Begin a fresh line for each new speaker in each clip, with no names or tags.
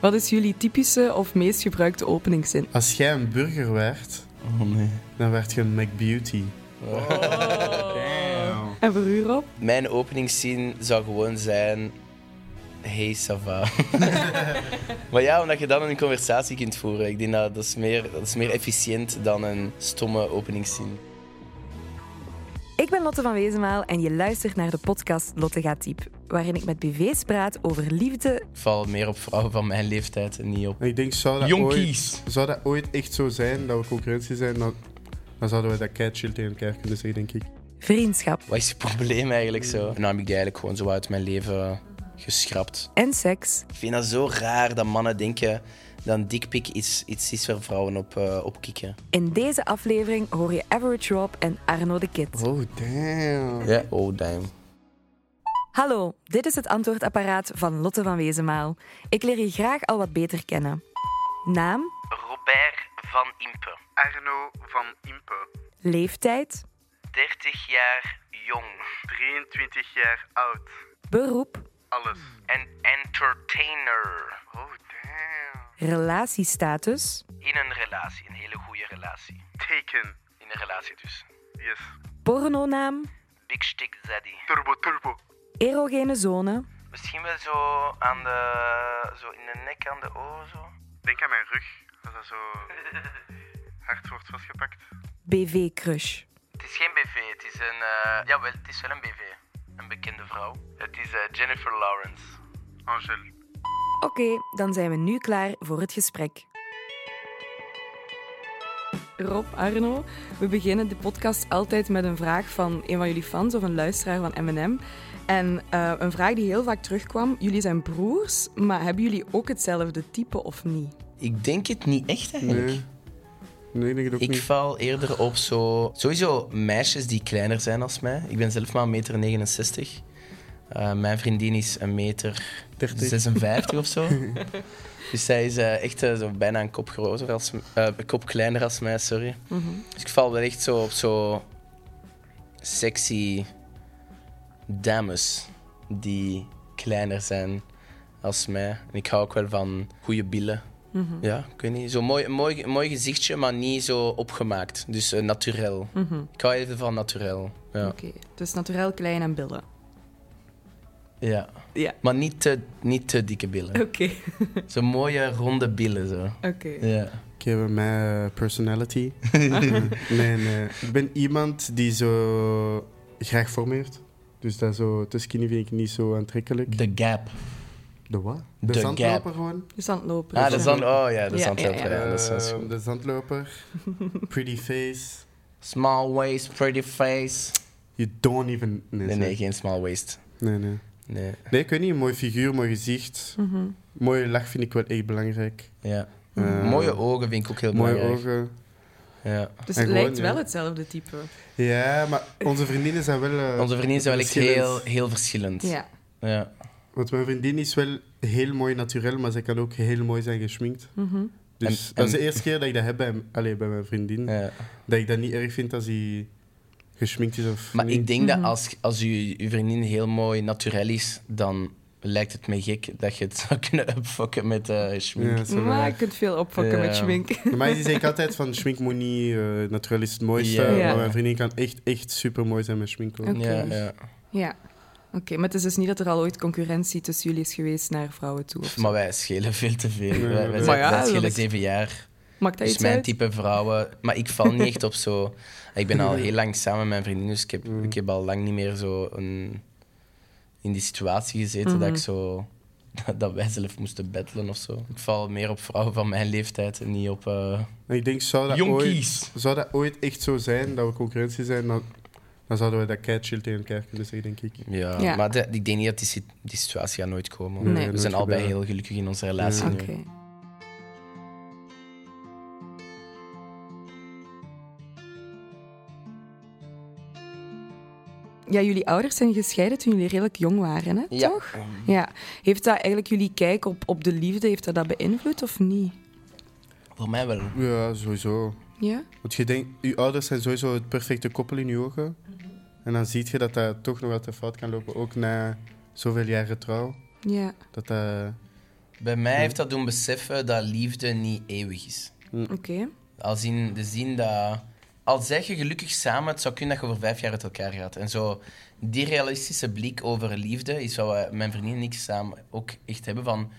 Wat is jullie typische of meest gebruikte openingszin?
Als jij een burger werd,
Oh nee.
dan werd je een McBeauty.
En voor u, Rob?
Mijn openingszin zou gewoon zijn... Hey, Sava. maar ja, omdat je dan een conversatie kunt voeren. Ik denk dat dat is meer, dat is meer efficiënt dan een stomme openingszin.
Ik ben Lotte van Wezenmaal en je luistert naar de podcast Lotte gaat diep, waarin ik met BV's praat over liefde.
Ik val meer op vrouwen van mijn leeftijd en niet op
En ik denk, zou dat, ooit,
jonkies.
zou dat ooit echt zo zijn, dat we concurrentie zijn, dan, dan zouden we dat keitschild tegen elkaar kunnen zeggen, denk ik.
Vriendschap
Wat is je probleem eigenlijk zo? En dan heb ik die eigenlijk gewoon zo uit mijn leven geschrapt.
en seks.
Ik vind dat zo raar dat mannen denken dat een dikpik iets, iets is waar vrouwen op, eh, op kikken.
In deze aflevering hoor je Average Rob en Arno de Kid.
Oh, damn.
Ja. Oh, damn.
Hallo, dit is het antwoordapparaat van Lotte van Wezenmaal. Ik leer je graag al wat beter kennen. Naam,
Robert van Impe. Arno van Impe.
leeftijd,
30 jaar jong. 23 jaar oud.
beroep,
Alles. Een entertainer. Oh, damn.
relatiestatus,
In een relatie, een hele goede relatie. Teken. In een relatie dus. Yes.
pornonaam,
Big Stick Zaddy. Turbo, turbo.
erogene zone,
Misschien wel zo aan de... Zo in de nek, aan de oren zo. Denk aan mijn rug. Als dat zo hard wordt vastgepakt.
BV-crush.
Het is geen BV, het is een. eh, ja jawel, het is wel een BV. Een bekende vrouw. Het is eh, Jennifer Lawrence. Angel.
Oké, dan zijn we nu klaar voor het gesprek. Rob, Arno, we beginnen de podcast altijd met een vraag van een van jullie fans of een luisteraar van M&M. En eh, een vraag die heel vaak terugkwam. Jullie zijn broers, maar hebben jullie ook hetzelfde type of niet?
Ik denk het niet echt eigenlijk.
Nee. Nee, ik denk het ook
Ik
niet.
val eerder op zo... Sowieso meisjes die kleiner zijn dan mij. Ik ben zelf maar 1,69 meter. 69. Eh, mijn vriendin is 1 meter
30.
56 of zo. Dus zij is eh, echt eh, zo bijna een kop, groter als, m- eh, een kop kleiner als mij, sorry. Dus ik val wel echt zo op zo sexy dames die kleiner zijn als mij. En ik hou ook wel van goede billen.
Mhm.
Ja, ik weet niet. Zo'n mooi, mooi, mooi gezichtje, maar niet zo opgemaakt. Dus eh naturel. Ik hou even van naturel. Ja.
Mhm. Oké, dus naturel klein en billen.
ja.
Ja.
Maar niet te, niet te dikke billen.
Oké,
Zo'n mooie ronde billen zo.
oké.
Ja.
Ik heb een eh, personality. nee, nee. Ik ben iemand die zo graag vorm heeft. Dus dat zo, te skinny vind ik niet zo aantrekkelijk.
De gap.
De wat?
De
De zandloper
gap.
gewoon.
Dus aan het lopen.
Ah, de zand. Oh ja, de
Ja,
zand.
ja, ja.
dat is- dat is
Eh,
goed.
de zandloper. Pretty face.
Small waist, pretty face.
You don't even... Nee,
Nee,
sorry.
nee, geen small waist.
nee, nee.
Nee.
Nee, ik weet niet. Een mooi figuur, mooi gezicht.
Mhm.
Mooie lach vind ik wel echt belangrijk.
Ja.
Eh,
Mm. Mooie ogen vind ik ook heel
Mooie
belangrijk.
ogen.
Ja.
Dus
En
het
gewoon,
lijkt wel
ja.
hetzelfde type.
Ja, maar onze vriendinnen zijn wel... eh,
Onze vrienden zijn wel echt
verschillend.
heel, heel verschillend.
Ja.
Ja.
Want mijn vriendin is wel heel mooi natuurlijk, maar zij kan ook heel mooi zijn geschminkt.
Mhm.
Dus
En-
dat is
en-
de eerste keer dat ik dat heb bij, hem- allee, bij mijn vriendin.
Ja.
Dat ik dat niet erg vind als hij geschminkt is of
Maar
niet.
ik denk dat als, als je, je vriendin heel mooi naturel is, dan lijkt het me gek dat je het zou kunnen upfucken met eh schmink.
Ja, sorry.
Maar je kunt veel opfokken
Ja.
met schmink.
Normaal is ik altijd van schmink moet niet, eh, natuurlijk is het mooiste.
Ja.
Ja.
Maar mijn vriendin kan echt, echt super mooi zijn met schmink. hoor.
Oké.
Ja, ja.
Ja. Oké, maar het is dus niet dat er al ooit concurrentie tussen jullie is geweest naar vrouwen toe. Of zo.
Maar wij schelen veel te veel.
Ja.
Wij, wij,
Maar
zijn-
ja,
wij
dat
schelen
ik-
zeven jaar.
Maakt dat
Dus
iets
mijn
uit?
type vrouwen... Maar ik val niet echt op zo... Ik ben al heel lang samen met mijn vriendin, dus ik heb,
Mm.
ik heb al lang niet meer zo een, in die situatie gezeten
Mm.
dat ik zo... Dat wij zelf moesten battelen of zo. Ik val meer op vrouwen van mijn leeftijd en niet op... eh,
En ik denk, zou dat,
Jonkies.
ooit, zou dat ooit echt zo zijn dat we concurrentie zijn, dan, dan zouden we dat keitschild tegen elkaar kunnen zeggen, denk ik.
Ja,
Ja.
maar de- ik denk niet dat die, sit- die situatie gaat nooit komen.
Nee.
We
nooit
zijn allebei
gebeuren.
heel gelukkig in onze relatie
Oké.
nu.
Ja, jullie ouders zijn gescheiden toen jullie redelijk jong waren, hè?
Ja.
toch? Ja. Heeft dat eigenlijk jullie kijk op, op de liefde, heeft dat, dat beïnvloed of niet?
Voor mij wel.
Ja, sowieso.
Ja?
Want je denkt, je ouders zijn sowieso het perfecte koppel in je ogen. En dan zie je dat dat toch nog wat te fout kan lopen, ook na zoveel jaren trouw.
Ja.
Dat dat
Bij mij heeft dat doen beseffen dat liefde niet eeuwig is.
Oké.
Al zien, de zin dat... Al zeg je gelukkig samen, het zou kunnen dat je over vijf jaar uit elkaar gaat. En zo, die realistische blik over liefde is wat wij- mijn vriendin en ik samen ook echt hebben van...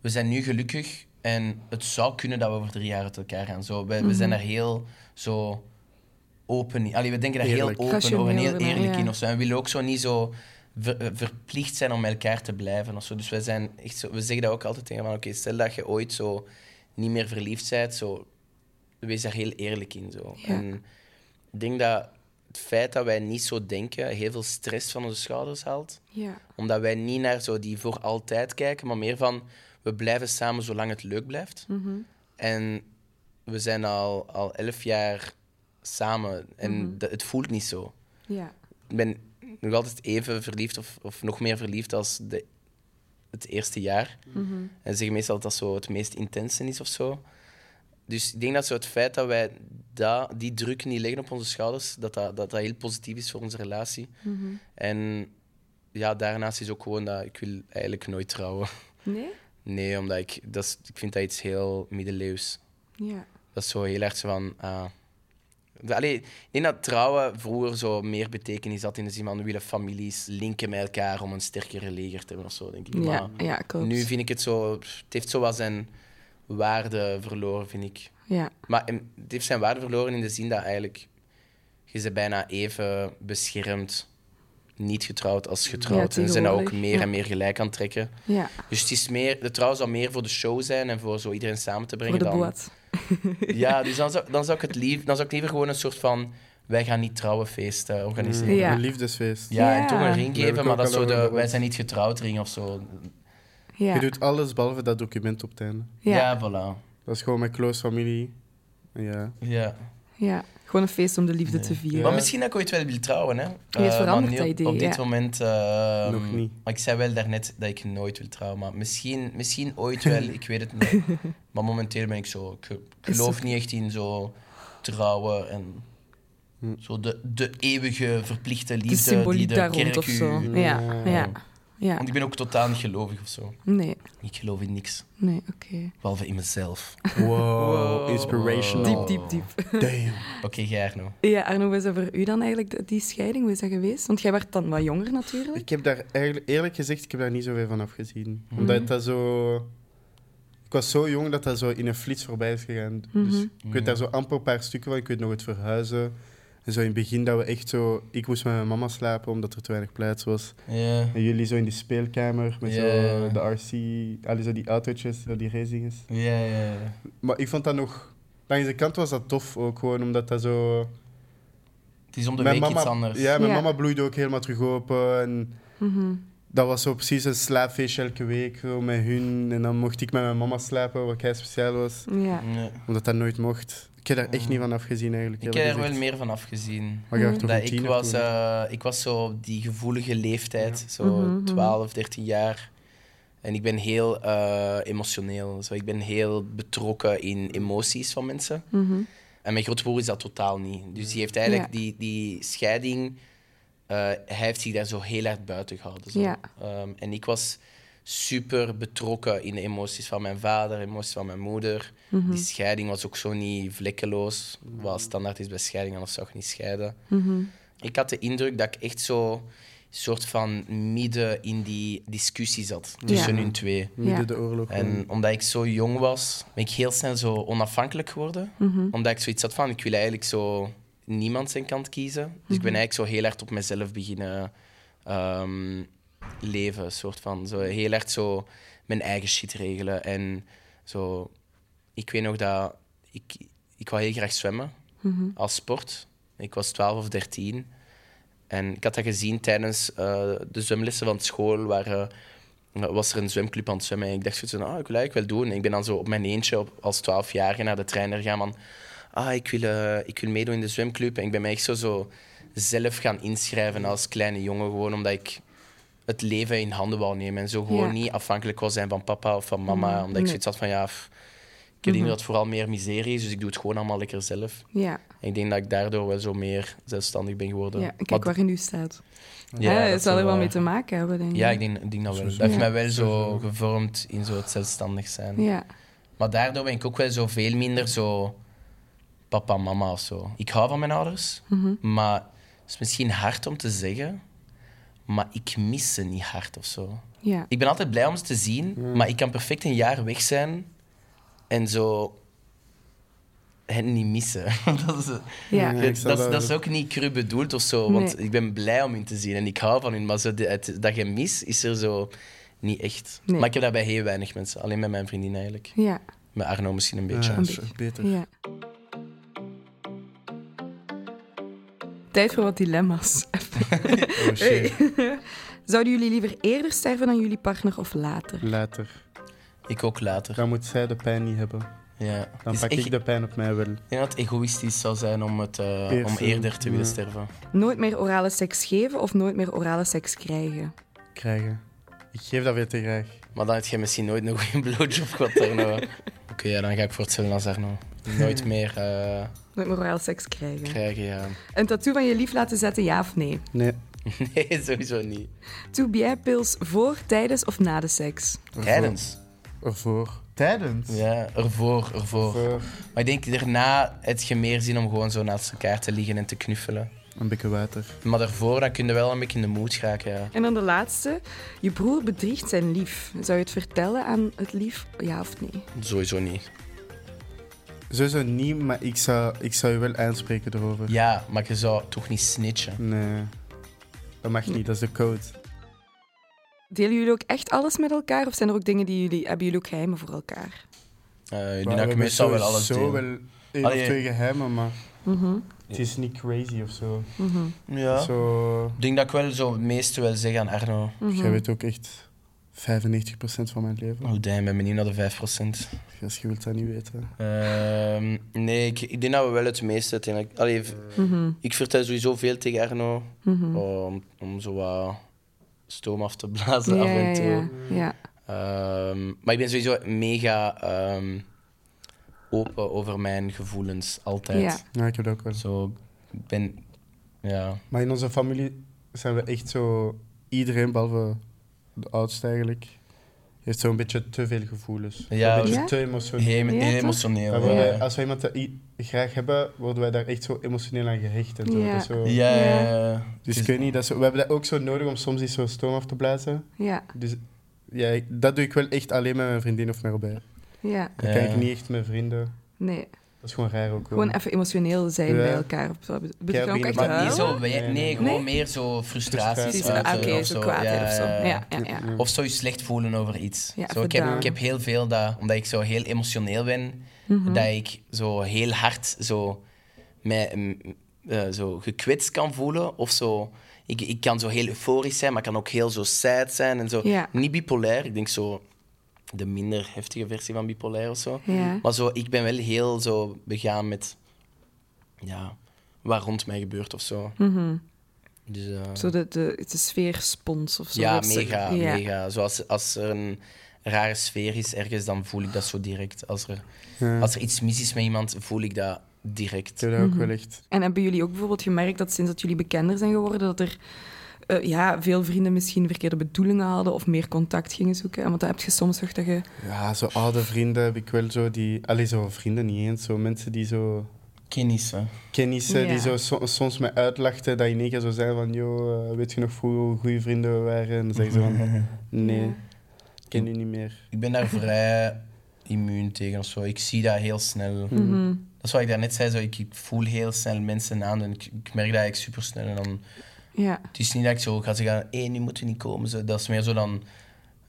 We zijn nu gelukkig en het zou kunnen dat we over drie jaar uit elkaar gaan. Zo, wij- We zijn daar heel zo open in. Allee, we denken daar
Eerlijk.
heel open
Rationeel
over en heel
ernaar,
eerlijk
ja.
in. Of zo. En we willen ook zo niet zo ver- eh, verplicht zijn om elkaar te blijven. Of zo. Dus wij zijn echt zo, we zeggen dat ook altijd tegen van oké, stel dat je ooit zo niet meer verliefd bent, zo, wees daar heel eerlijk in. Zo.
Ja.
En ik denk dat het feit dat wij niet zo denken heel veel stress van onze schouders haalt.
Ja.
Omdat wij niet naar zo die voor altijd kijken, maar meer van we blijven samen zolang het leuk blijft. En we zijn al, al elf jaar samen en dat- het voelt niet zo.
Ja.
Ik ben nog altijd even verliefd of, of nog meer verliefd als de, het eerste jaar. En ze zeggen meestal dat dat zo het meest intense is of zo. Dus ik denk dat zo het feit dat wij dat, die druk niet leggen op onze schouders, dat dat, dat dat heel positief is voor onze relatie. En ja, daarnaast is ook gewoon dat ik wil eigenlijk nooit trouwen.
Nee?
Nee, omdat ik, dat is- ik vind dat iets heel middeleeuws.
Ja.
Dat is zo heel erg zo van. ah. De- Allee, ik denk dat trouwen vroeger zo meer betekenis had in de zin van we willen families linken met elkaar om een sterkere leger te hebben of zo, denk ik.
Ja,
Maar
ja klopt.
nu vind ik het zo. Het heeft zo wat zijn waarde verloren, vind ik.
Ja.
Maar em, het heeft zijn waarde verloren in de zin dat eigenlijk. Je ze bijna even beschermd, niet getrouwd als getrouwd. en ze zijn daar ook
tegenwoordig,
meer
ja.
en meer gelijk aan het trekken.
Ja.
Dus het is meer, de trouw zal meer voor de show zijn en voor zo iedereen samen te
Voor
brengen
de
dan.
boat.
Ja, dus dan zou, dan zou ik het lief, dan zou ik liever gewoon een soort van wij gaan niet trouwen feest eh, organiseren.
Mm. Ja.
Een liefdesfeest.
Ja,
Ja.
en toch een ring
Daar heb
geven,
ik
maar
ook
dat
al
zo
over
de
gehoord.
wij zijn niet getrouwd ring of zo.
Ja.
Je doet alles behalve dat document op het einde.
Ja.
Ja,
Ja.
voilà.
Dat is gewoon mijn close familie. Ja.
Ja.
Gewoon een feest om de liefde te vieren.
Maar misschien dat ik ooit wel wil trouwen, hè?
Wie het
Eh,
verandert,
maar nu
dat
op-
idee,
Op dit
ja.
moment... eh,
Nog niet.
Maar ik zei wel daarnet dat ik nooit wil trouwen, maar misschien, misschien ooit wel, ik weet het niet. Maar momenteel ben ik zo... Ik ge-
Is
geloof niet echt in zo trouwen en...
Hm.
Zo de, de eeuwige verplichte
de
liefde die
symboliek
de
daar
kerk
rond of
u-
zo. Ja. Ja. Ja.
Want ik ben ook totaal niet gelovig of zo.
Nee.
Ik geloof in niks,
Nee, oké.
behalve in mezelf.
Wow, inspirational.
Diep, diep, diep.
Damn.
Oké, jij Arno.
Ja, Arno, hoe is dat voor u dan eigenlijk, de- die scheiding? Hoe is dat geweest? Want jij werd dan wat jonger natuurlijk.
Ik heb daar eigenlijk, eerlijk gezegd, ik heb daar niet zoveel van afgezien. Omdat dat zo. Ik was zo jong dat dat zo in een flits voorbij is gegaan. Dus ik weet daar zo amper een paar stukken van. Ik weet nog het verhuizen. En zo in het begin dat we echt zo. Ik moest met mijn mama slapen omdat er te weinig plaats was.
Ja.
En jullie zo in de speelkamer met
Ja.
zo de RC. Allee, zo die autootjes, zo die racinges.
Ja, ja, ja.
Maar ik vond dat nog. Langs de kant was dat tof ook gewoon omdat dat zo.
Het is om de week iets anders.
Ja, mijn
Ja.
mama bloeide ook helemaal terug open. En
Mhm.
dat was zo precies een slaapfeestje elke week zo, met hun. En dan mocht ik met mijn mama slapen, wat kei speciaal was.
Ja.
Ja.
Omdat dat nooit mocht. Ik heb daar echt niet van afgezien eigenlijk.
Mm. Ik
eerlijk
heb er wel
gezegd.
meer van afgezien.
Maar ik heb er toch
Dat
een
ik,
tiener
was,
toen.
eh, ik was zo op die gevoelige leeftijd, zo
Mhm,
12, 13 jaar. En ik ben heel eh, emotioneel. Zo, ik ben heel betrokken in emoties van mensen.
Mhm.
En mijn grootbroer is dat totaal niet. Dus die heeft eigenlijk
Ja.
die, die scheiding, eh, hij heeft zich daar zo heel hard buiten gehouden. Zo.
Ja.
Ehm, en ik was super betrokken in de emoties van mijn vader, emoties van mijn moeder.
Mhm.
Die scheiding was ook zo niet vlekkeloos, wat standaard is bij scheiding, anders zou je niet scheiden.
Mhm.
Ik had de indruk dat ik echt zo soort van midden in die discussie zat tussen
Ja.
hun twee.
Midden
Ja.
de oorlog.
En omdat ik zo jong was, ben ik heel snel zo onafhankelijk geworden. Omdat ik zoiets had van, ik wil eigenlijk zo niemand zijn kant kiezen. Dus ik ben eigenlijk zo heel hard op mezelf beginnen ehm, leven. Soort van, zo heel hard zo mijn eigen shit regelen. En zo, ik weet nog dat, ik, ik wou heel graag zwemmen als sport. Ik was 12 of 13. En ik had dat gezien tijdens eh, de zwemlessen van school, waar, eh, was er een zwemclub aan het zwemmen. En ik dacht zoiets van, ah, ik wil eigenlijk wel doen. En ik ben dan zo op mijn eentje op, als 12-jarige naar de trainer gaan van, ah, ik wil, eh, ik wil meedoen in de zwemclub. En ik ben mij echt zo, zo zelf gaan inschrijven als kleine jongen, gewoon omdat ik het leven in handen wou nemen. En zo gewoon
Ja.
niet afhankelijk wou zijn van papa of van mama,
Mhm,
omdat
nee.
ik
Mm-hmm.
zoiets had van, ja... pff, denk dat het vooral meer miserie is, dus ik doe het gewoon allemaal lekker zelf.
Ja,
En ik denk dat ik daardoor wel zo meer zelfstandig ben geworden.
ja. kijk
Maar d-
waar je nu staat.
ja,
Hè,
dat
het zal er wel
eh,
mee te maken hebben, denk ik.
Ja, ik denk, ik denk dat wel. Dat
Sowieso.
heeft
Ja.
mij wel zo
Sowieso.
gevormd in zo het zelfstandig zijn.
Ja.
Maar daardoor ben ik ook wel zo veel minder zo papa, mama of zo. Ik hou van mijn ouders,
Mhm.
maar het is misschien hard om te zeggen, maar ik mis ze niet hard of zo.
Ja.
Ik ben altijd blij om ze te zien, maar ik kan perfect een jaar weg zijn en zo hen niet missen. dat is,
Ja.
Ja.
dat,
ik snap
dat, is-
dat
dat
wel.
is ook niet cru bedoeld of zo, want
Nee.
ik ben blij om hun te zien en ik hou van hun, maar zo, de- het, dat je mis is er zo niet echt.
Nee.
Maar ik heb daarbij heel weinig mensen, alleen met mijn vriendin eigenlijk.
Ja.
Met Arno misschien een beetje.
Ja,
Een
is
beetje.
beter.
ja. Tijd voor wat dilemma's.
Oh shit.
Zouden jullie liever eerder sterven dan jullie partner of later?
Later.
Ik ook later.
Dan moet zij de pijn niet hebben.
Ja.
Dan
Het is
pak
echt-
ik de pijn op mij wel.
Ik denk dat het egoïstisch zou zijn om, het, eh,
Eerst,
om
eh,
eerder te willen
ja.
sterven.
Nooit meer orale seks geven of nooit meer orale seks krijgen?
Krijgen. Ik geef dat weer te graag.
Maar dan heb je misschien nooit nog een blowjob gehad, Arno. Oké, ja, dan ga ik voor hetzelfde als Arno. Nooit meer eh,
Nooit meer oraal seks krijgen.
krijgen, ja.
Een tattoo van je lief laten zetten, ja of nee?
Nee.
Nee, sowieso niet.
Toubia-pils voor, tijdens of na de seks?
Tijdens.
Ervoor. Tijdens?
Ja, ervoor, ervoor.
Ervoor.
Maar ik denk, daarna heb je meer zin om gewoon zo naast elkaar te liggen en te knuffelen.
Een beetje water.
Maar daarvoor, dan kun je wel een beetje in de moed geraken, ja.
En dan de laatste. Je broer bedriegt zijn lief. Zou je het vertellen aan het lief, ja of nee?
Sowieso niet.
Sowieso niet, maar ik zou, ik zou je wel aanspreken erover.
Ja, maar je zou toch niet snitchen.
Nee. Dat mag niet, dat is de code.
Delen jullie ook echt alles met elkaar? Of zijn er ook dingen die jullie... Hebben jullie ook geheimen voor elkaar?
Eh
Maar we
ik denk dat ik
hebben
meestal wel alles
sowieso
deel.
wel één
Allee.
of twee geheimen, maar
Mhm.
het is niet crazy of zo.
Ja.
Zo,
Ik denk dat ik wel zo het meeste wil zeggen aan Arno.
Mhm.
Jij weet ook echt 95% van mijn leven.
Oh damn, ik ben benieuwd naar de 5%.
Als je wilt dat niet weten.
Ehm, nee, ik, ik denk dat we wel het meeste uiteindelijk... Allee, v-
Mhm.
ik vertel sowieso veel tegen Arno. Om, om zo wat stoom af te blazen af en toe.
ja, ja.
Ehm, maar ik ben sowieso mega ehm, open over mijn gevoelens, altijd.
Ja.
Ja, ik heb dat ook wel.
Zo, ik ben... Ja.
Maar in onze familie zijn we echt zo... Iedereen, behalve de oudste eigenlijk, heeft zo'n beetje te veel gevoelens.
Ja,
een beetje
Ja?
te emotioneel.
Heel,
Ja,
heel
toch?
Dan
emotioneel.
worden wij-
ja.
Als we iemand dat i- graag hebben, worden wij daar echt zo emotioneel aan gehecht. En zo.
Ja.
Dat is zo.
Ja, ja,
Ja.
ja, ja.
Dus ik weet niet, dat is zo- we hebben dat ook zo nodig om soms iets zo stoom af te blazen.
Ja,
Dus ja, ik- dat doe ik wel echt alleen met mijn vriendin of met Robert.
ja.
Dat
Ja.
kan ik niet echt met vrienden.
Nee.
Dat is gewoon raar ook. wel.
Gewoon even emotioneel zijn
Ja.
bij elkaar. Of zo. Bedoel je
Ja,
ook echt
maar
Maar
huilen?
niet zo, we- nee,
Nee?
gewoon meer zo frustraties.
Precies,
Ja,
ah,
uiten
Oké,
of
zo kwaad
Ja,
hè, of zo.
ja, ja.
Ja, ja, ja.
Of zo je slecht voelen over iets.
Ja,
zo, ik, heb,
verdaan.
ik heb heel veel dat, omdat ik zo heel emotioneel ben,
Mhm.
dat ik zo heel hard zo, mij, mm, eh, zo gekwetst kan voelen. Of zo, ik, ik kan zo heel euforisch zijn, maar ik kan ook heel zo sad zijn en zo.
Ja.
Niet bipolair, ik denk zo de minder heftige versie van bipolair of zo.
Ja.
Maar zo, ik ben wel heel zo begaan met ja, wat rond mij gebeurt of zo.
Mhm.
Dus, eh,
Zo de, de, de sfeerspons of zo.
ja,
Dat is-
mega,
ja.
mega. Zoals als er een rare sfeer is ergens, dan voel ik dat zo direct. Als er,
Ja.
als er iets mis is met iemand, voel ik dat
Ik
direct.
heb dat
Mhm.
ook wel echt.
En hebben jullie ook bijvoorbeeld gemerkt dat sinds dat jullie bekender zijn geworden, dat er eh, ja, veel vrienden misschien verkeerde bedoelingen hadden of meer contact gingen zoeken? Want dan heb je soms toch dat je...
Ja, zo oude vrienden heb ik wel zo die... Allee, zo vrienden niet eens. Zo mensen die zo...
Kennissen.
Kennissen
Ja.
die zo, so- soms mij uitlachten. Dat je in één keer zo zijn van... Yo, eh, weet je nog vroeger hoe goede vrienden we waren? En dan zeggen ze van... Nee,
Ja.
ik ken die niet meer.
Ik ben daar vrij immuun tegen of zo. Ik zie dat heel snel.
Mm-hmm.
Mhm.
Dat is wat ik daarnet zei. Zo, ik, ik voel heel snel mensen aan en ik, ik merk dat ik super snel. En dan,
Ja,
het is niet dat ik zo ga zeggen, hé, nu moet je niet komen. Zo, dat is meer zo dan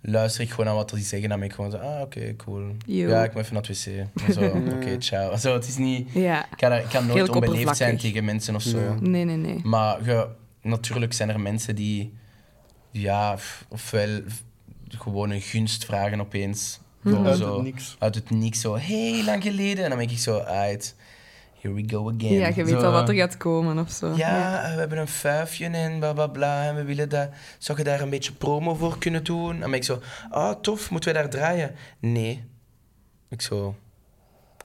luister ik gewoon naar wat die zeggen. Dan ben ik gewoon zo, ah, oké, cool.
Yo.
Ja, ik moet even naar het wc. En Zo, oké, ciao. Zo, het is niet...
ja.
Ik kan, er- ik kan nooit
Heel
onbeleefd zijn
oppervlakkig.
tegen mensen of zo.
Ja.
Nee, nee, nee.
Maar ge- natuurlijk zijn er mensen die, ja, f- ofwel f- gewoon een gunst vragen opeens. Gewoon
Hm. Uit
zo,
het niks.
Uit het niks, zo heel lang geleden. En dan ben ik zo, uit. Here we go again.
Ja, je weet
Zo,
al wat er gaat komen of zo.
Ja, eh, we hebben een fuifje en bla bla bla. En we willen dat. Zou je daar een beetje promo voor kunnen doen? En dan ben ik zo, ah, tof, moeten wij daar draaien? Nee. Ik zo,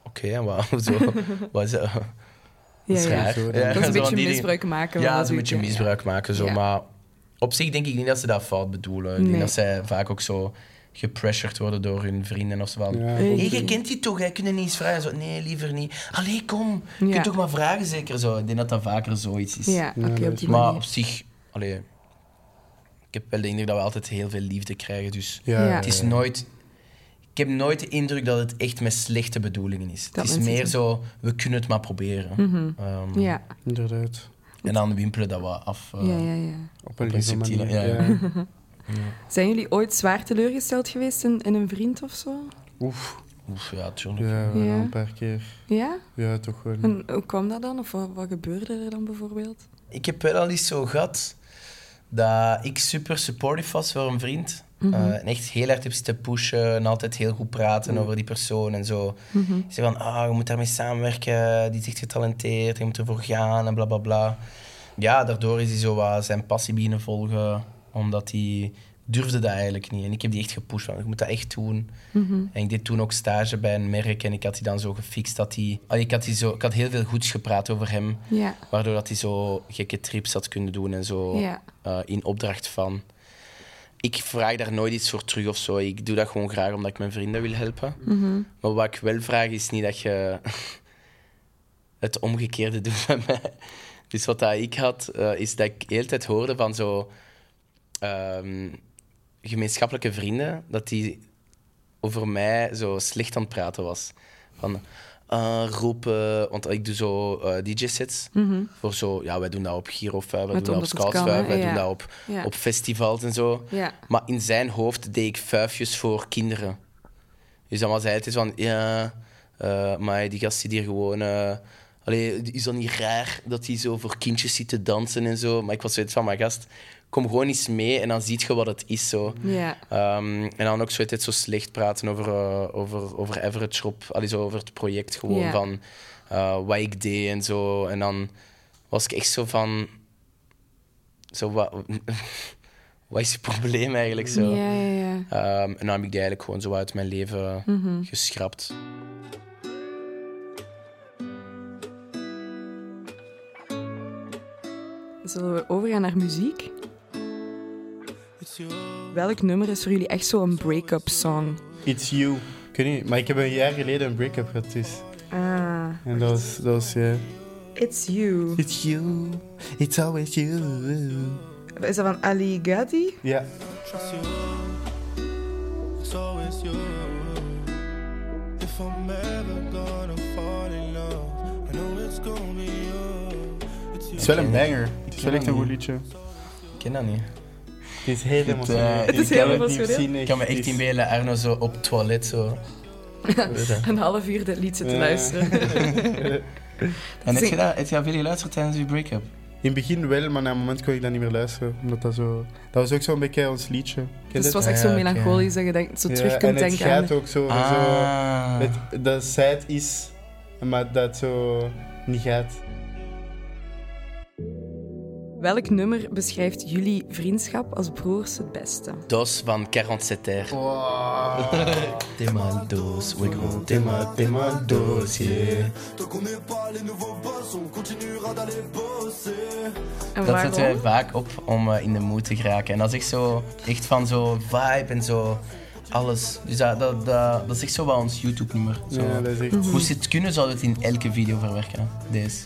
oké, en wat, zo, wat is dat?
Ja,
Dat is
ja.
raar.
Zo,
Dat is
zo
een
van
beetje
die dingen.
misbruik maken.
Ja,
van
dat is een beetje
natuurlijk, ja.
misbruik maken. Zo.
Ja.
Maar op zich denk ik niet dat ze dat fout bedoelen. Ik
Nee.
denk dat zij vaak ook zo gepressured worden door hun vrienden of zo. Van,
Ja.
Hey,
Hé, je kent die toch, jij kunt je niet eens vragen. Zo, nee, liever niet. Allee, kom. Je
Ja.
kunt toch maar vragen, zeker zo. Ik denk dat dat vaker zoiets is.
Ja, oké,
dat
op
is-
die
Maar op
manier.
zich, allee, ik heb wel de indruk dat we altijd heel veel liefde krijgen. Dus
Ja,
Ja.
het is nooit... Ik heb nooit de indruk dat het echt met slechte bedoelingen is.
Dat
het is
mensen
meer
het-
zo, we kunnen het maar proberen. Ehm,
Ja,
inderdaad.
En dan wimpelen dat wat af. eh.
ja, ja, ja.
Op een
Op een
lieve
subtiele-
manier.
ja, ja.
ja.
Zijn jullie ooit zwaar teleurgesteld geweest in, in een vriend of zo?
Oef.
Oef, ja, tuurlijk.
Ja, wel
Ja.
een paar keer.
Ja?
Ja, toch wel.
En hoe kwam dat dan? Of wat, wat gebeurde er dan bijvoorbeeld?
Ik heb wel al eens zo gehad dat ik super supportive was voor een vriend.
Mhm.
Eh, en echt heel hard heb zitten pushen en altijd heel goed praten
Mhm.
over die persoon en zo. Ik zei van, ah, je moet daarmee samenwerken, die is echt getalenteerd, je moet ervoor gaan en bla bla bla. Ja, daardoor is hij zo wat zijn passie beginnen volgen, omdat hij durfde dat eigenlijk niet. En ik heb die echt gepusht, van, je moet dat echt doen. En ik deed toen ook stage bij een merk en ik had die dan zo gefixt dat hij... Allee, Ik had, die zo, ik had heel veel goeds gepraat over hem.
Ja.
Waardoor dat hij zo gekke trips had kunnen doen en
Oh.
zo
Ja.
eh, in opdracht van. Ik vraag daar nooit iets voor terug of zo. Ik doe dat gewoon graag omdat ik mijn vrienden wil helpen.
Mhm.
Maar wat ik wel vraag is niet dat je het omgekeerde doet bij mij. Dus wat dat ik had, eh, is dat ik de hele tijd hoorde van zo ehm, gemeenschappelijke vrienden, dat die over mij zo slecht aan het praten was. Van eh, roepen, want ik doe zo eh, DJ-sets. Voor zo, ja, wij doen dat op Giro 5, wij
Want
doen dat op
omdat het
Scouts
Mhm. kan,
5,
hè?
wij
Ja.
doen dat op,
Ja.
op festivals en zo.
Ja.
Maar in zijn hoofd deed ik vuifjes voor kinderen. Dus dan was hij het is van, ja, eh, maar die gast zit hier gewoon... eh, allee, is dan niet raar dat hij zo voor kindjes zit te dansen en zo? Maar ik was zoiets van, maar gast, kom gewoon eens mee en dan ziet je wat het is zo.
Ja.
Ehm, en dan ook zo, het zo slecht praten over, eh, over, over Average Shop, allee, zo over het project gewoon,
Ja.
van eh, wat ik deed en zo. En dan was ik echt zo van... Zo, wat, wat is je probleem eigenlijk zo?
Ja, ja, ja.
Ehm, en dan heb ik die eigenlijk gewoon zo uit mijn leven geschrapt.
Zullen we overgaan naar muziek? Welk nummer is voor jullie echt zo'n break-up song?
It's you. Ik weet niet, maar ik heb een jaar geleden een break-up gehad. Dus.
Ah,
En dat was, dat was ja.
It's You.
It's you. It's always you.
Is dat van Ali Gadi?
Ja.
It's you. It's always you. If I'm ever gonna fall in love, I know it's gonna be you. It's
Het is
you.
wel een banger. Het is wel echt een goed liedje.
Ik ken dat niet.
Het is heel
eh,
emotioneel.
het is
heel
kan niet
emotioneel.
zien,
Ik kan me
Het is-
echt inbeelden, Arno zo op het toilet zo.
Een half uur dit lied zitten
Ja.
luisteren.
En heb
Zing-
je, dat, heb je dat veel geluisterd tijdens je break-up?
In het begin wel, maar na een moment kon ik dat niet meer luisteren. Omdat dat zo... Dat was ook zo'n beetje ons liedje. Ken je
Dus het
dat?
was echt zo
Ja, oké.
melancholisch dat je denkt, zo
Ja,
terug kunt
en het
denken aan...
gaat ook zo... zo
Ah.
het, dat zij het is, maar dat zo niet gaat.
Welk nummer beschrijft jullie vriendschap als broers het beste?
Dos van 47 Terre. Thema dos, we gaan thema, thema dos, yeah.
Tant qu'on n'est pas les nouveaux boss, on continuera d'aller bosser.
En
Dat zetten wij
waarom?
vaak op om eh, in de mood te geraken. En dat is echt zo, echt van zo vibe en zo, alles. Dus dat, dat, dat, dat is echt zo wel ons YouTube-nummer. Zo.
Ja, dat is echt...
Mhm.
Moest je het kunnen, zouden we het in elke video verwerken. hè. Deze.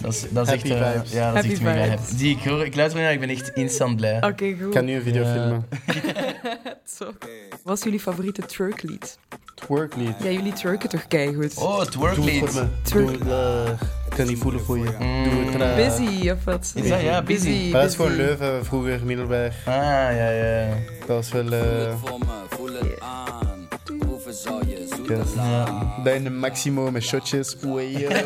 Dat is, dat is
Happy
echt... eh,
vibes.
ja, dat is echt
Happy
mega
vibes.
happy. Die, ik, hoor, ik luister naar, ik ben echt instant blij.
Oké,
Ik
goed.
kan nu een video
Ja.
filmen.
Zo. Wat is jullie favoriete twerklied?
Twerklied.
Ja, jullie twerken toch keigoed?
Oh, het
Doe het voor
workleed.
me.
Twerk.
Doe het, eh, ik kan niet voelen voor je. Doe het traag.
Busy, of wat?
Is dat, ja, busy.
Maar dat is gewoon Leuven, vroeger middelbaar.
Ah, ja, ja.
Dat was wel... eh,
Voor me, voel het aan. Proeven zou je zoete
Yes.
slaan.
Dat in de Maximo met shotjes. Oei, eh.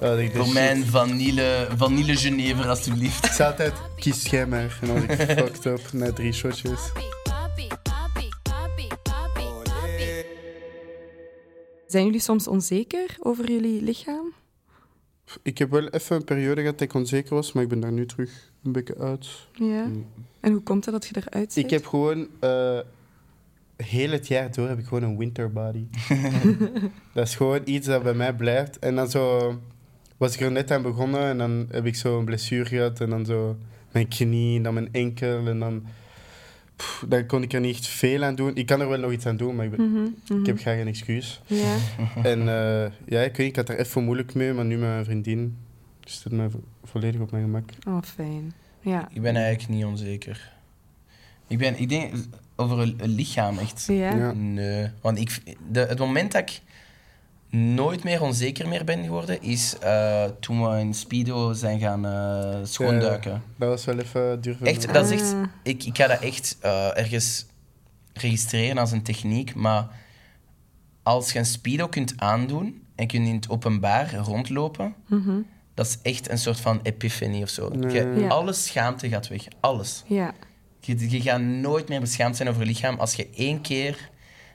Dat ik
Voor
dus-
mijn vanille, vanille Genever, alstublieft.
Ik zei altijd, kies jij maar. En dan was ik fucked up na drie shotjes.
Papi, papi, papi, papi, papi.
Zijn jullie soms onzeker over jullie lichaam?
Ik heb wel even een periode gehad dat ik onzeker was, maar ik ben daar nu terug een beetje uit.
Mm.
Ja. En hoe komt het dat je eruit ziet?
Ik heb gewoon eh, heel het jaar door heb ik gewoon een winterbody. dat is gewoon iets dat bij mij blijft. En dan zo was ik er net aan begonnen en dan heb ik zo een blessure gehad. En dan zo mijn knie, en dan mijn enkel. En dan, pff, dan kon ik er niet echt veel aan doen. Ik kan er wel nog iets aan doen, maar ik, ben-
Mhm, mhm.
ik heb graag een excuus.
Ja.
En eh, ja, ik weet niet, ik had er even moeilijk mee, maar nu met mijn vriendin is het me vo- volledig op mijn gemak.
Oh, fijn. Ja.
Ik ben eigenlijk niet onzeker. Ik, ben, ik denk over een, een lichaam echt.
Ja.
Ja.
Nee. Want ik, de, het moment dat ik nooit meer onzeker meer ben geworden, is eh, toen we in Speedo zijn gaan eh, schoonduiken.
Dat was wel even duur voor
Echt,
mij.
dat is echt-
Ah,
Ik, ik ga dat echt eh, ergens registreren als een techniek, maar als je een Speedo kunt aandoen en kunt in het openbaar rondlopen,
mhm.
dat is echt een soort van epiphany of zo.
Nee.
Je-
Ja.
Alle schaamte gaat weg, alles.
Ja.
Je, je gaat nooit meer beschaamd zijn over je lichaam als je één keer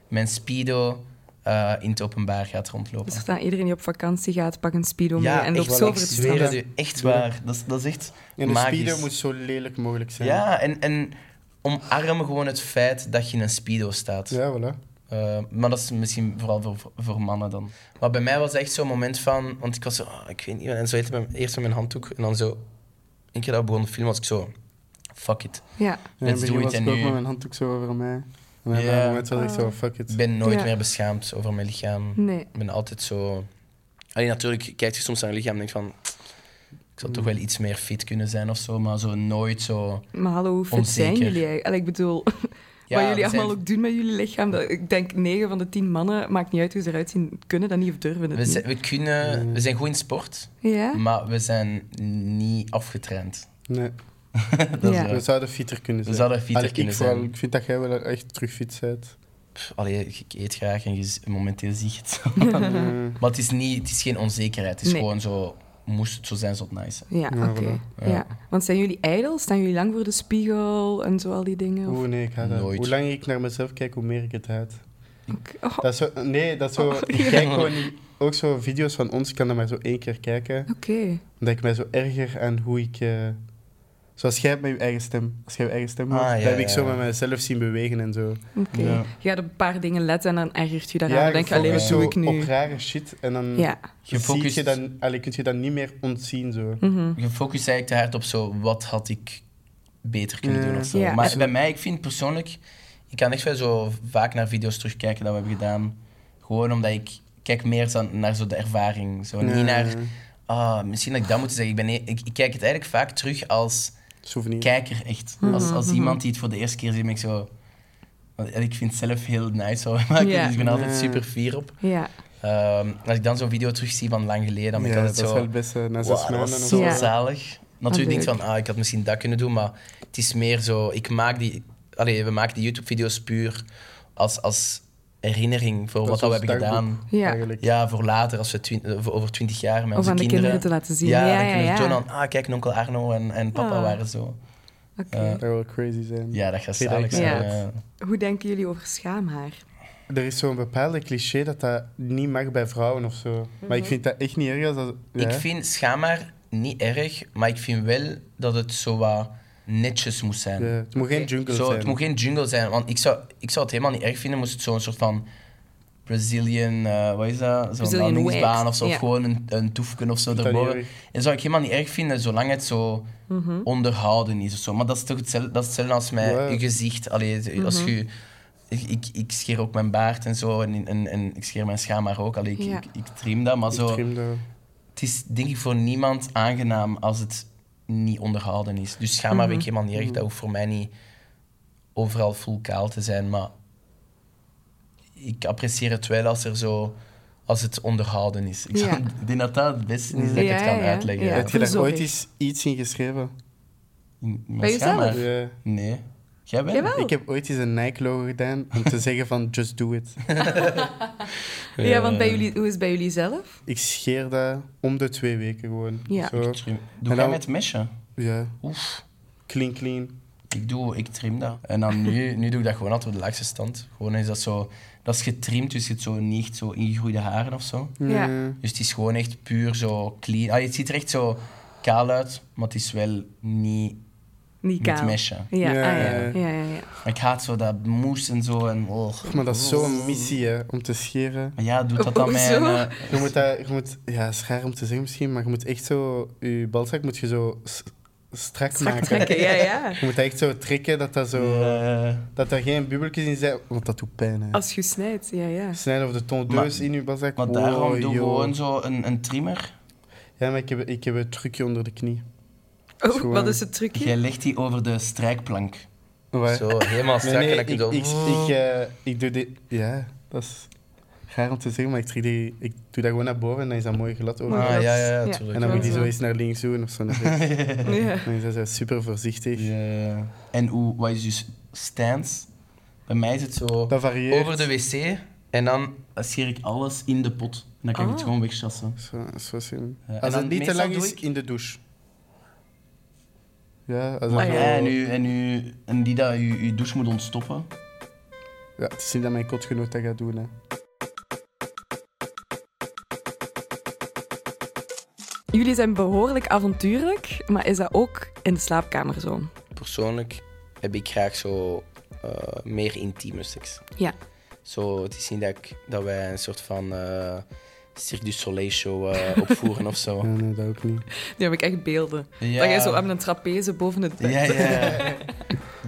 met een speedo eh, in het openbaar gaat rondlopen.
Dus er staan iedereen die op vakantie gaat, pak een speedo mee en loopt
echt,
zo
wel,
ik
over het
zweer
strand.
het u, echt waar. Dat, is- dat is echt
En de
magisch.
speedo moet zo lelijk mogelijk zijn.
Ja, en, en omarm gewoon het feit dat je in een speedo staat.
Ja, voilà.
Eh, maar dat is misschien vooral voor, voor mannen dan. Maar bij mij was echt zo'n moment van... Want ik was zo... ah, ik weet niet... En zo heette mijn, eerst met mijn handdoek en dan zo... Een keer dat we begonnen te filmen was ik zo... Fuck it.
Ja.
Ja, in het
Let's do
begin
it
was
en
ik ook
nu-
met mijn handdoek zo over mij. En op
Ja.
dat moment was ik
Ah.
zo, fuck it.
Ik ben nooit
Ja.
meer beschaamd over mijn lichaam.
Nee.
Ik ben altijd zo. Alleen natuurlijk kijk je soms naar je lichaam en denk van. Ik zou toch
Mm.
wel iets meer fit kunnen zijn of zo, maar zo nooit zo.
Maar hallo, hoe fit zijn
Onzeker.
jullie eigenlijk? Allee, Ik bedoel, wat jullie
we zijn-
allemaal ook doen met jullie lichaam. Dat, ik denk 9 van de 10 mannen, maakt niet uit hoe ze eruit zien, kunnen dat niet of durven het
We
niet.
zijn, we, kunnen, we zijn goed in sport,
Ja?
maar we zijn niet afgetraind.
Nee,
Dat
Ja.
is,
we
eh,
zouden fitter kunnen
We
zijn.
zouden fitter
Allee,
kunnen
ik vooral,
zijn.
Ik vind dat jij wel echt terug fit bent.
pff, allee, ik eet graag en je z- momenteel zie je het. zo. maar het is, niet, het is geen onzekerheid, het is
Nee.
gewoon zo. Moest het zo zijn, zou het nice zijn.
Ja,
Ja,
oké.
voilà.
Ja.
Ja.
Want zijn jullie ijdel? Staan jullie lang voor de spiegel en zo al die dingen? Of...
Oeh, nee, ik ga dat.
Nooit.
Hoe langer ik naar mezelf kijk, hoe meer ik het haat.
Oké. Oh,
Dat is zo, nee, dat is zo...
Oh,
ik
ja.
kijk gewoon niet... Ook zo video's van ons, ik kan dat maar zo één keer kijken.
Oké.
Omdat ik mij zo erger aan hoe ik... eh, zoals jij met je eigen stem. Als jij je eigen stem
Ah,
hoort,
ja,
dat heb ik
ja,
zo
ja.
met mezelf zien bewegen en zo.
oké.
Ja.
Je gaat op een paar dingen letten en dan ergert je daaraan.
Ja,
dan denk je,
focust
alleen wat
zo
doe ik nu?
op rare shit en dan
Ja.
Je dus-
zie je
focust-
dan, allee, kun je dat niet meer ontzien zo.
Mhm.
Je focust eigenlijk te hard op zo, wat had ik beter kunnen
Ja.
doen of zo.
Ja.
Maar
Zo-
bij mij, ik vind persoonlijk, ik kan echt wel zo vaak naar video's terugkijken dat we hebben gedaan. Gewoon omdat ik kijk meer dan naar zo de ervaring. Zo,
Ja,
Niet naar,
ja.
ah, misschien dat ik dat moet zeggen. Ik, ben, e- ik, ik kijk het eigenlijk vaak terug als
souvenir.
kijker echt.
Mhm.
Als, als iemand die het voor de eerste keer ziet, ben ik zo... want Ik vind het zelf heel nice wat we maken,
Ja.
dus ik ben altijd
Ja.
super fier op.
Ja.
Ehm, als ik dan zo'n video terugzie van lang geleden, dan ben ik
ja, dat
altijd
is
zo...
wel best eh, na
Wow,
zes
dat
maanden.
was
of
zo
Ja.
zalig. Natuurlijk niet
Natuurlijk.
van, ah, ik had misschien dat kunnen doen, maar het is meer zo, ik maak die, allee, we maken die YouTube-video's puur als, als herinnering voor
Dat
wat
is
dat we
ons
hebben gedaan.
dagboek,
Ja.
Eigenlijk.
Ja, voor later, als we twin- eh, voor over twintig jaar met
Of
onze
aan de
kinderen...
kinderen te laten zien.
Ja,
Ja,
dan
ja,
kunnen we
ja.
tonen aan, ah, kijk, en onkel Arno en, en papa
Ah.
waren zo.
Oké.
Eh,
Dat zou wel crazy zijn.
Ja, dat gaat
Vind ik
zalig
ook.
zijn.
Ja.
eh.
Hoe denken jullie over schaamhaar?
Er is zo'n bepaalde cliché dat dat niet mag bij vrouwen of zo. Maar ik
Mhm.
vind dat echt niet erg als dat... Ja.
Ik vind schaamhaar niet erg, maar ik vind wel dat het zo wat netjes moet zijn.
Ja, het moet geen jungle
Zo,
zijn.
Het moet geen jungle zijn, want ik zou, ik zou het helemaal niet erg vinden moest het zo'n soort van Brazilian, eh, wat is dat? Zo'n
Brazilian
landingsbaan
wax,
of zo,
ja.
of gewoon een, een toefken of zo
dat
erboven.
niet
En
erg.
dat zou ik helemaal niet erg vinden, zolang het zo
Mhm.
onderhouden is of zo. Maar dat is toch hetzelfde, dat is hetzelfde als met
Ja.
je gezicht. Allee, het- als
Mhm.
je, ik, ik, ik scheer ook mijn baard en zo, en, en, en ik scheer mijn schaamhaar ook. Allee, ik,
Ja.
ik, ik trim dat, maar
Ik
zo,
trim dat.
het is denk ik voor niemand aangenaam als het niet onderhouden is. Dus schaamhaar ben ik
Mhm.
helemaal niet erg. Dat hoeft voor mij niet overal full kaal te zijn. Maar ik apprecieer het wel als, er zo, als het onderhouden is. Ik,
Ja.
zou- ik denk dat dat het beste is dat ik
Ja,
het kan
ja, ja.
uitleggen.
Ja.
Heb je daar
Verzorging.
ooit eens iets in geschreven?
In- in mijn
Bij jezelf?
schaamhaar?
Ja.
Nee. Jij wel?
Jij wel?
Ik heb ooit eens een Nike-logo gedaan om te zeggen van just do it.
Ja, want bij jullie, hoe is het bij jullie zelf?
Ik scheer dat om de twee weken gewoon.
Ja.
Zo.
Doe
En
jij
dan-
met mesje?
Ja.
Oef.
Clean, clean.
Ik, doe, ik trim dat. En dan nu, nu doe ik dat gewoon altijd op de laagste stand. Gewoon is dat zo... Dat is getrimd, dus je hebt zo niet echt zo ingegroeide haren of zo.
Ja.
Mm.
Dus het is gewoon echt Ah, puur zo clean. Allee, het ziet er echt zo kaal uit, maar het is wel niet
Niet
Met
kaal.
mesje.
Ja,
Ja,
ah, ja.
ja,
ja, ja, ja.
Maar ik haat zo dat moes en zo. En, oh.
Maar dat is zo'n missie, hè, om te scheren.
Maar ja, doet dat dan mij...
Hoezo?
een, eh,
Je moet, dat, je moet ja, is raar om te zeggen misschien, maar je moet echt zo, je balzak moet je zo s- strak,
Strak
maken.
trekken, ja, ja.
Je moet dat echt zo trekken, dat, dat, zo,
eh,
dat er geen bubbeltjes in zijn, want dat doet pijn. Hè.
Als je snijdt, ja, ja.
Snijden of de tondeus
Maar-
in je balzak.
maar
oh,
daarom doe
joh.
gewoon zo een, een trimmer.
Ja, maar ik heb, ik heb een trucje onder de knie.
Oh,
gewoon-
wat is het trucje?
Jij legt die over de strijkplank.
Waar?
Zo, helemaal strak.
Nee, nee,
en
ik,
dan kun
ik,
je zo-
ik, ik, eh, ik doe dit. Ja, dat is raar om te zeggen, maar ik, trek die, ik doe dat gewoon naar boven en dan is dat mooi glad over.
Mooi
Ah,
glad.
ja, ja, ja,
Ja.
tuurlijk.
en dan moet ik die
glad.
zo eens naar links doen of zo. Naar rechts.
Ja.
dan is dat zo super voorzichtig.
Ja. Eh, En hoe, wat is dus stance? Bij mij is het zo
Dat varieert.
over de wc en dan scheer ik alles in de pot. En dan kan ik het
Ah.
gewoon wegchassen.
Zo, zo zien.
Ja, en
als
dan
het niet te
meestal
lang
doe
is,
ik-
in de douche. Ja, als
Ah,
het
ja.
zo-
Ja, en, u, en, u, en die dat je uw douche moet ontstoppen.
ja, het is niet dat mijn kotgenoot dat gaat doen. Hè.
Jullie zijn behoorlijk avontuurlijk, maar is dat ook in de slaapkamer zo?
Persoonlijk heb ik graag zo eh, meer intieme seks.
Ja.
Zo, het is niet dat, ik- dat wij een soort van eh Cirque du Soleil show eh, opvoeren of
Ja,
zo.
nee, dat ook niet.
Nu heb ik echt beelden.
Ja.
Dat jij zo aan een trapeze boven het bed...
Ja, ja.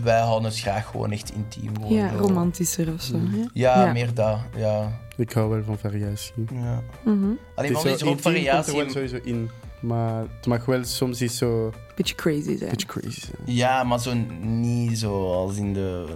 wij houden het graag gewoon echt intiem. Gewoon
Ja,
zo.
romantischer of zo. hè?
Oh. Ja,
Ja.
meer dat. Ja.
Ik hou wel van variatie.
ja.
Mhm.
Alleen
Het
van is
zo
er ook
intiem, komt er
variatie.
wel sowieso in. Maar het mag wel soms iets zo... Een
Beetje crazy zijn.
beetje crazy zijn.
Ja, maar zo niet zo als in de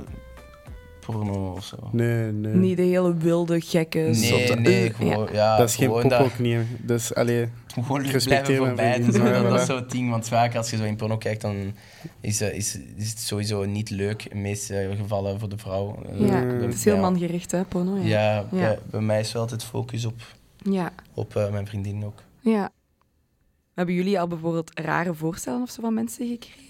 porno of zo.
Nee, nee.
Niet de hele wilde, gekke,
Nee,
zotte-
nee,
Eh,
gewoon,
ja.
ja.
Ah, dat is geen
gewoon
pop
dat-
ook niet. hè. Dus, allee...
Gewoon
Respecteer
blijven
mijn
voorbij.
vriendin.
doen.
Ja,
dat is
voilà.
zo'n ding, want vaak als je zo in porno kijkt, dan is, eh, is, is het sowieso niet leuk. In de meeste gevallen voor de vrouw. Eh,
Ja,
bij-
het is heel
ja.
mangericht, hè, porno. Ja.
Ja, Bij, bij mij is wel altijd focus op,
ja.
op eh, mijn vriendin ook.
ja. Hebben jullie al bijvoorbeeld rare voorstellen of zo van mensen gekregen?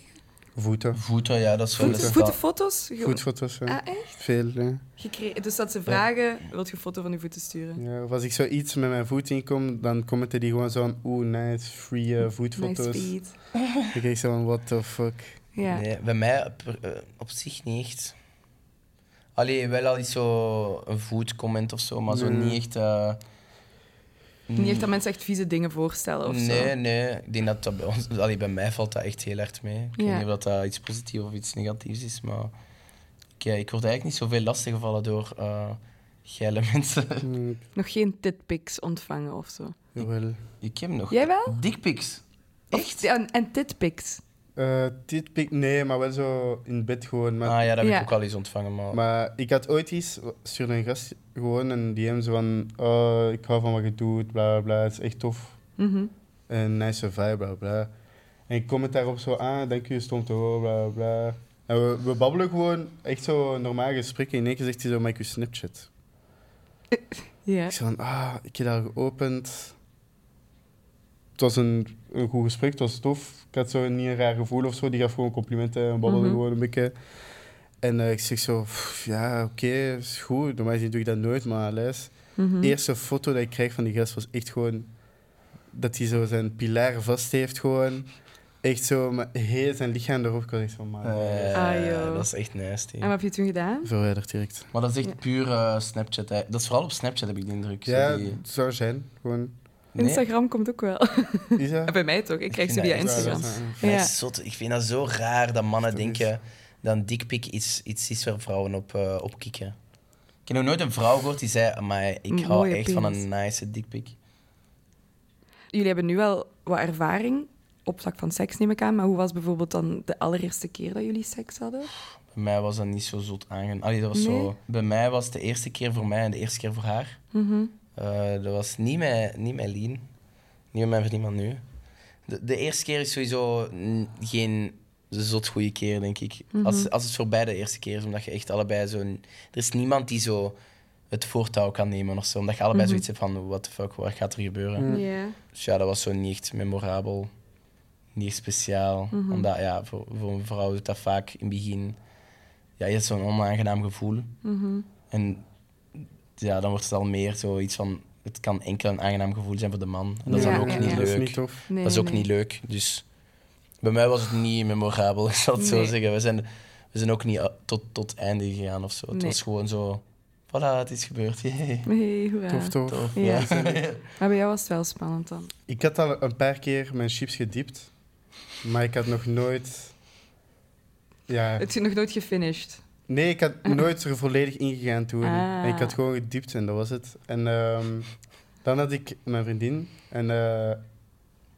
Voeten.
Voeten, ja, dat is wel
Voeten,
een
voetenfoto's? Ge-
Voetfoto's. hè.
Ah, echt?
Veel, hè.
Gekregen. Dus dat ze vragen, wilt je een foto van je voeten sturen?
Ja, of als ik zoiets met mijn voet inkom, dan commenten die gewoon zo'n oeh, nice, free eh,
Nice
voetfoto's. Dan
feet.
kijk ik zo van, what the fuck.
Ja.
Nee, bij mij op, eh, op zich niet echt. Allee, wel al iets zo een voetcomment of zo, maar zo
Nee.
niet echt. eh,
Niet echt dat mensen echt vieze dingen voorstellen of zo.
Nee, nee. Ik denk dat dat bij ons... Allee, bij mij valt dat echt heel hard mee. Ik
Ja.
weet niet of dat iets positiefs of iets negatiefs is, maar... Ik, eh, ik word eigenlijk niet zoveel lastiggevallen door eh geile mensen.
Mm,
Nog geen titpics ontvangen of zo.
jawel.
ik heb nog...
Jij wel?
Dickpics.
Echt? En, en titpics.
Eh, dit pik, nee, maar wel zo in bed gewoon. Maar,
Ah ja, dat heb
Ja.
ik ook al eens ontvangen, maar...
maar ik had ooit iets, stuurde een gast gewoon een DM zo van, oh, ik hou van wat je doet, bla bla bla, het is echt tof.
Mhm.
Een nice vibe, bla bla. En ik kom het daarop zo "Ah, aan, denk je, stond te horen, bla bla. En we, we babbelen gewoon echt zo normaal gesprekken. In één keer zegt hij zo, maak je Snapchat.
Ja.
Ik zei van, ah, ik heb daar geopend. Het was een, een goed gesprek, het was tof. Ik had zo niet een raar gevoel of zo. Die gaf gewoon complimenten en babbelde
Mhm.
gewoon een beetje. En eh, ik zeg zo, "Pff, ja, oké, is goed. Normaal gezien doe ik dat nooit, maar les.
Mhm.
De eerste foto dat ik krijg van die gast was echt gewoon... Dat hij zo zijn pilaar vast heeft gewoon. Echt zo, maar heel zijn lichaam erop. Ik was echt van, maar...
Eh,
Ah, joh.
dat is echt nasty.
En wat heb je toen gedaan?
Verwijderd direct.
Maar dat is echt
Ja.
puur eh, Snapchat. hè. Dat is vooral op Snapchat, heb ik de indruk. Zo
Ja,
die-
het zou zijn. Gewoon,
Nee?
Instagram komt ook wel.
is dat?
Bij mij toch? Ik krijg ze
vind dat
via
echt wel
Instagram.
Ja,
Maar
Ja.
het is zot. Ik vind dat zo raar dat mannen
Dat is-
denken dat een dikpik iets, iets is waar vrouwen op, eh, op kikken. Ik heb nog nooit een vrouw gehoord die zei, maar ik
Een
hou
mooie
echt van
penis."
een nice dikpik.
Jullie hebben nu wel wat ervaring op vlak van seks, neem ik aan. Maar hoe was bijvoorbeeld dan de allereerste keer dat jullie seks hadden?
Bij mij was dat niet zo zot aangenaam. Allee, dat was
Nee?
zo... Bij mij was het de eerste keer voor mij en de eerste keer voor haar.
Mhm.
Eh, dat was niet met, niet met Lien. Niet met mijn vriendin van nu. De, de eerste keer is sowieso n- geen zot goede keer, denk ik.
Mhm.
als, als het voorbij de eerste keer is, omdat je echt allebei zo... n- Er is niemand die zo het voortouw kan nemen of zo. Omdat je
Mhm.
allebei zoiets hebt van, what the fuck, wat gaat er gebeuren?
Ja.
Dus ja, dat was zo niet echt memorabel. Niet echt speciaal.
Mhm.
Omdat, ja, voor, voor een vrouw doet dat vaak in het begin... Ja, je hebt zo'n onaangenaam gevoel.
Mhm.
En ja, dan wordt het al meer zoiets van... Het kan enkel een aangenaam gevoel zijn voor de man. En dat is
Ja,
dan ook
ja,
niet
ja.
Dat is
leuk.
niet tof.
Nee,
dat is ook
nee.
niet leuk. Dus Bij mij was het niet memorabel, ik zal het zo
Nee.
zeggen. We zijn, we zijn ook niet a- tot, tot einde gegaan of zo. Het
Nee.
was gewoon zo, voilà, het is gebeurd. Jee.
Hey, hoera.
Tof, tof.
Tof.
Ja. Maar bij jou was het wel spannend dan.
Ik had al een paar keer mijn chips gediept, maar ik had nog nooit. Ja,
Het is nog nooit gefinished.
nee, ik had nooit er volledig ingegaan toen.
Ah.
En ik had gewoon gediept en dat was het. En ehm, dan had ik mijn vriendin en eh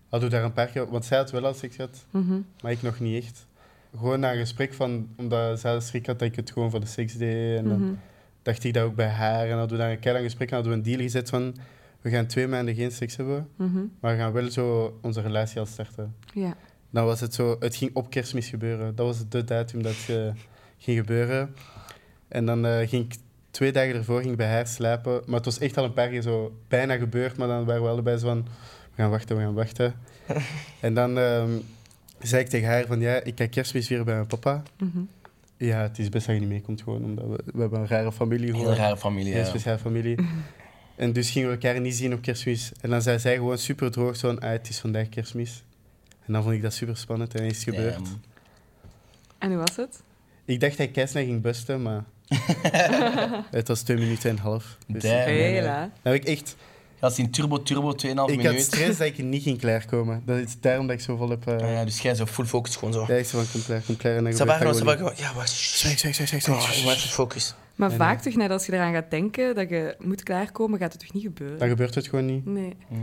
hadden we daar een paar keer, want zij had wel al seks gehad,
Mhm.
maar ik nog niet echt. Gewoon na een gesprek van, omdat zij schrik had dat ik het gewoon voor de seks deed. En dan
Mhm.
dacht ik dat ook bij haar. En hadden we daar een keer lang gesprek en hadden we een deal gezet van, we gaan twee maanden geen seks hebben.
Mhm.
Maar we gaan wel zo onze relatie al starten.
Ja.
Dan was het zo, het ging op kerstmis gebeuren. Dat was de datum dat het eh, ging gebeuren. En dan eh, ging ik twee dagen ervoor ging ik bij haar slapen. Maar het was echt al een paar keer zo bijna gebeurd. Maar dan waren we allebei zo van, we gaan wachten, we gaan wachten. en dan ehm, zei ik tegen haar van, ja, ik ga kerstmis weer bij mijn papa.
Mhm.
Ja, het is best dat je niet meekomt gewoon, omdat we, we hebben een rare familie
Heel
gewoon.
rare familie.
Heel
Ja.
speciale familie. En dus gingen we elkaar niet zien op kerstmis. En dan zei zij gewoon super droog zo'n, ah, het is vandaag kerstmis. En dan vond ik dat super spannend en is het gebeurd.
Damn.
En hoe was het?
Ik dacht dat ik keisnel ging busten, maar het was twee minuten en een half. Dus
Damn. nee, nee.
Hela.
dan heb ik echt,
Dat is in Turbo Turbo 2,5
ik
minuut.
had stress dat ik niet ging klaarkomen. Dat is daarom dat ik zo vol heb... eh
Ah ja, dus jij zo full focus gewoon zo.
ja, ik zei van, kom klaar, kom klaar. En dan
Ze waren
gebeurt dat
ze
gewoon
waren ja, wacht.
niet. Zwijg, zwijg, zwijg, zwijg,
Oh,
zwijg.
maar even focus.
Maar
Nee,
vaak toch, net als je eraan gaat denken dat je moet klaarkomen, gaat het toch niet gebeuren?
Dan gebeurt het gewoon niet.
Nee.
Ja.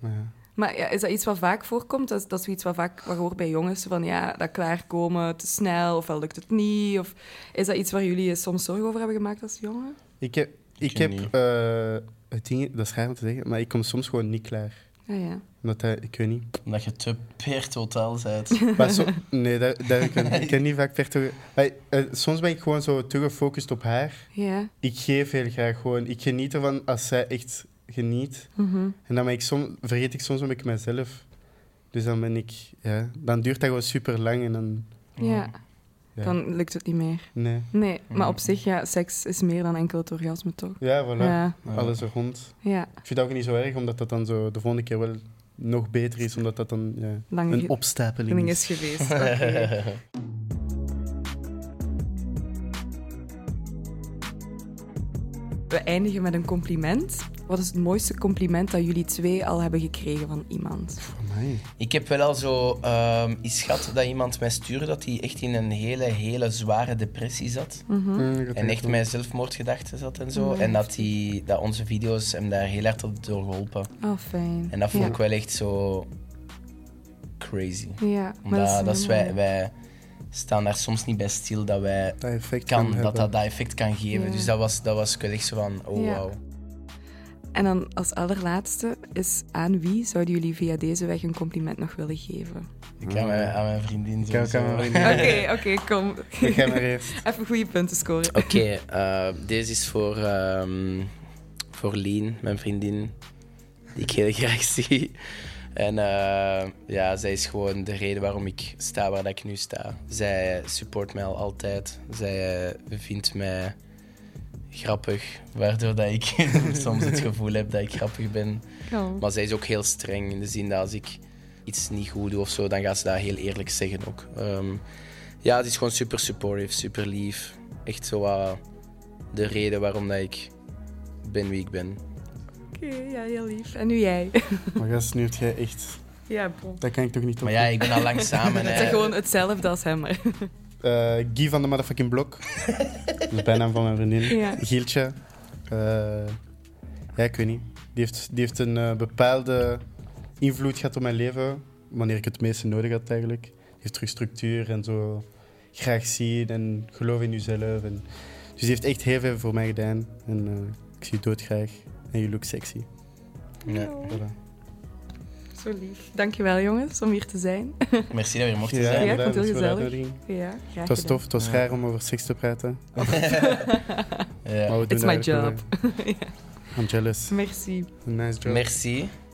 Maar ja.
Maar ja, is dat iets wat vaak voorkomt? Dat is, dat is zoiets wat vaak wat je hoort bij jongens, van ja, dat klaarkomen te snel, ofwel lukt het niet. Of is dat iets waar jullie je soms zorgen over hebben gemaakt als jongen?
Ik heb, ik
ken
heb
niet.
eh, het ding, dat is raar om te zeggen, maar ik kom soms gewoon niet klaar.
Ja, ja.
Omdat hij, ik weet niet.
Omdat je te per totaal bent.
Maar so- nee, daar, daar ik, ik kan niet vaak verder. Maar, eh, soms ben ik gewoon zo te gefocust op haar.
Ja.
Ik geef heel graag gewoon. Ik geniet ervan als zij echt geniet.
Mhm.
En dan ben ik som, vergeet ik soms een beetje mezelf. Dus dan ben ik, ja, dan duurt dat gewoon super lang en dan.
ja.
Ja.
Dan lukt het niet meer.
Nee.
Nee, maar op
Mhm.
zich, ja, seks is meer dan enkel het orgasme, toch?
Ja, voilà.
Ja,
Ja.
Alles er rond.
ja.
Ik vind dat ook niet zo erg, omdat dat dan zo de volgende keer wel nog beter is, omdat dat dan ja,
Lange
een opstapeling
ding
is.
is geweest. Oké. We eindigen met een compliment. Wat is het mooiste compliment dat jullie twee al hebben gekregen van iemand?
Amai.
Ik heb wel al zo ehm iets gehad dat iemand mij stuurde dat hij echt in een hele, hele zware depressie zat.
Mhm.
Mm, dat
En echt
wel.
met zelfmoordgedachten zat en zo.
Mm.
En dat, die, dat onze video's hem daar heel hard op doorgeholpen.
Oh, fijn.
En dat vond
ja.
ik wel echt zo crazy.
Ja, maar
Omdat dat
dat
is
is
wij,
mooi.
wij staan daar soms niet bij stil dat wij
dat effect
kan,
kan
dat,
hebben.
dat dat effect kan geven.
Ja.
Dus dat was, dat was wel echt zo van, oh
Ja.
wow.
En dan als allerlaatste is aan wie zouden jullie via deze weg een compliment nog willen geven?
Ik aan mijn, aan mijn
Ik
vriendin
ook
sowieso.
aan mijn vriendin.
Oké, oké, kom.
Ik ga maar eerst.
Even goede punten scoren.
Oké, eh, deze is voor, ehm, voor Lien, mijn vriendin, die ik heel graag zie. En eh, ja, zij is gewoon de reden waarom ik sta waar dat ik nu sta. Zij support mij al altijd. Zij eh, vindt mij grappig, waardoor dat ik soms het gevoel heb dat ik grappig ben.
Oh.
Maar zij is ook heel streng in de zin dat als ik iets niet goed doe of zo, dan gaat ze dat heel eerlijk zeggen ook. Ehm, ja, het is gewoon super supportive, super lief. Echt zo wat de reden waarom dat ik ben wie ik ben.
Oké, ja, heel lief. En nu jij.
Maar gast, nu heb jij echt...
ja, bon.
Dat kan ik toch niet op.
Maar ja, ik ben al lang samen.
Het
hè.
is gewoon hetzelfde als hem, maar...
Eh, Guy van de motherfucking blok. dat is de bijnaam van mijn vriendin.
Ja.
Gieltje. Eh, ja, ik weet niet. Die heeft, die heeft een eh, bepaalde invloed gehad op mijn leven. Wanneer ik het meeste nodig had eigenlijk. Die heeft terug structuur en zo. Graag zien en geloof in jezelf. En... Dus die heeft echt heel veel voor mij gedaan. En eh, ik zie je doodgraag. En je look sexy.
Ja.
Voilà.
Zo lief. Dankjewel, jongens, om hier te zijn.
Merci dat we hier mochten
Ja,
zijn.
ik vond het heel
inderdaad, dat is voor de
gezellig.
uitnodiging.
Ja, graag
Het was
gedaan.
tof, het was
Ja.
raar om over seks te praten.
Ja.
Maar we doen
It's my
dat eigenlijk wel. I'm jealous.
Merci.
Nice job.
Merci.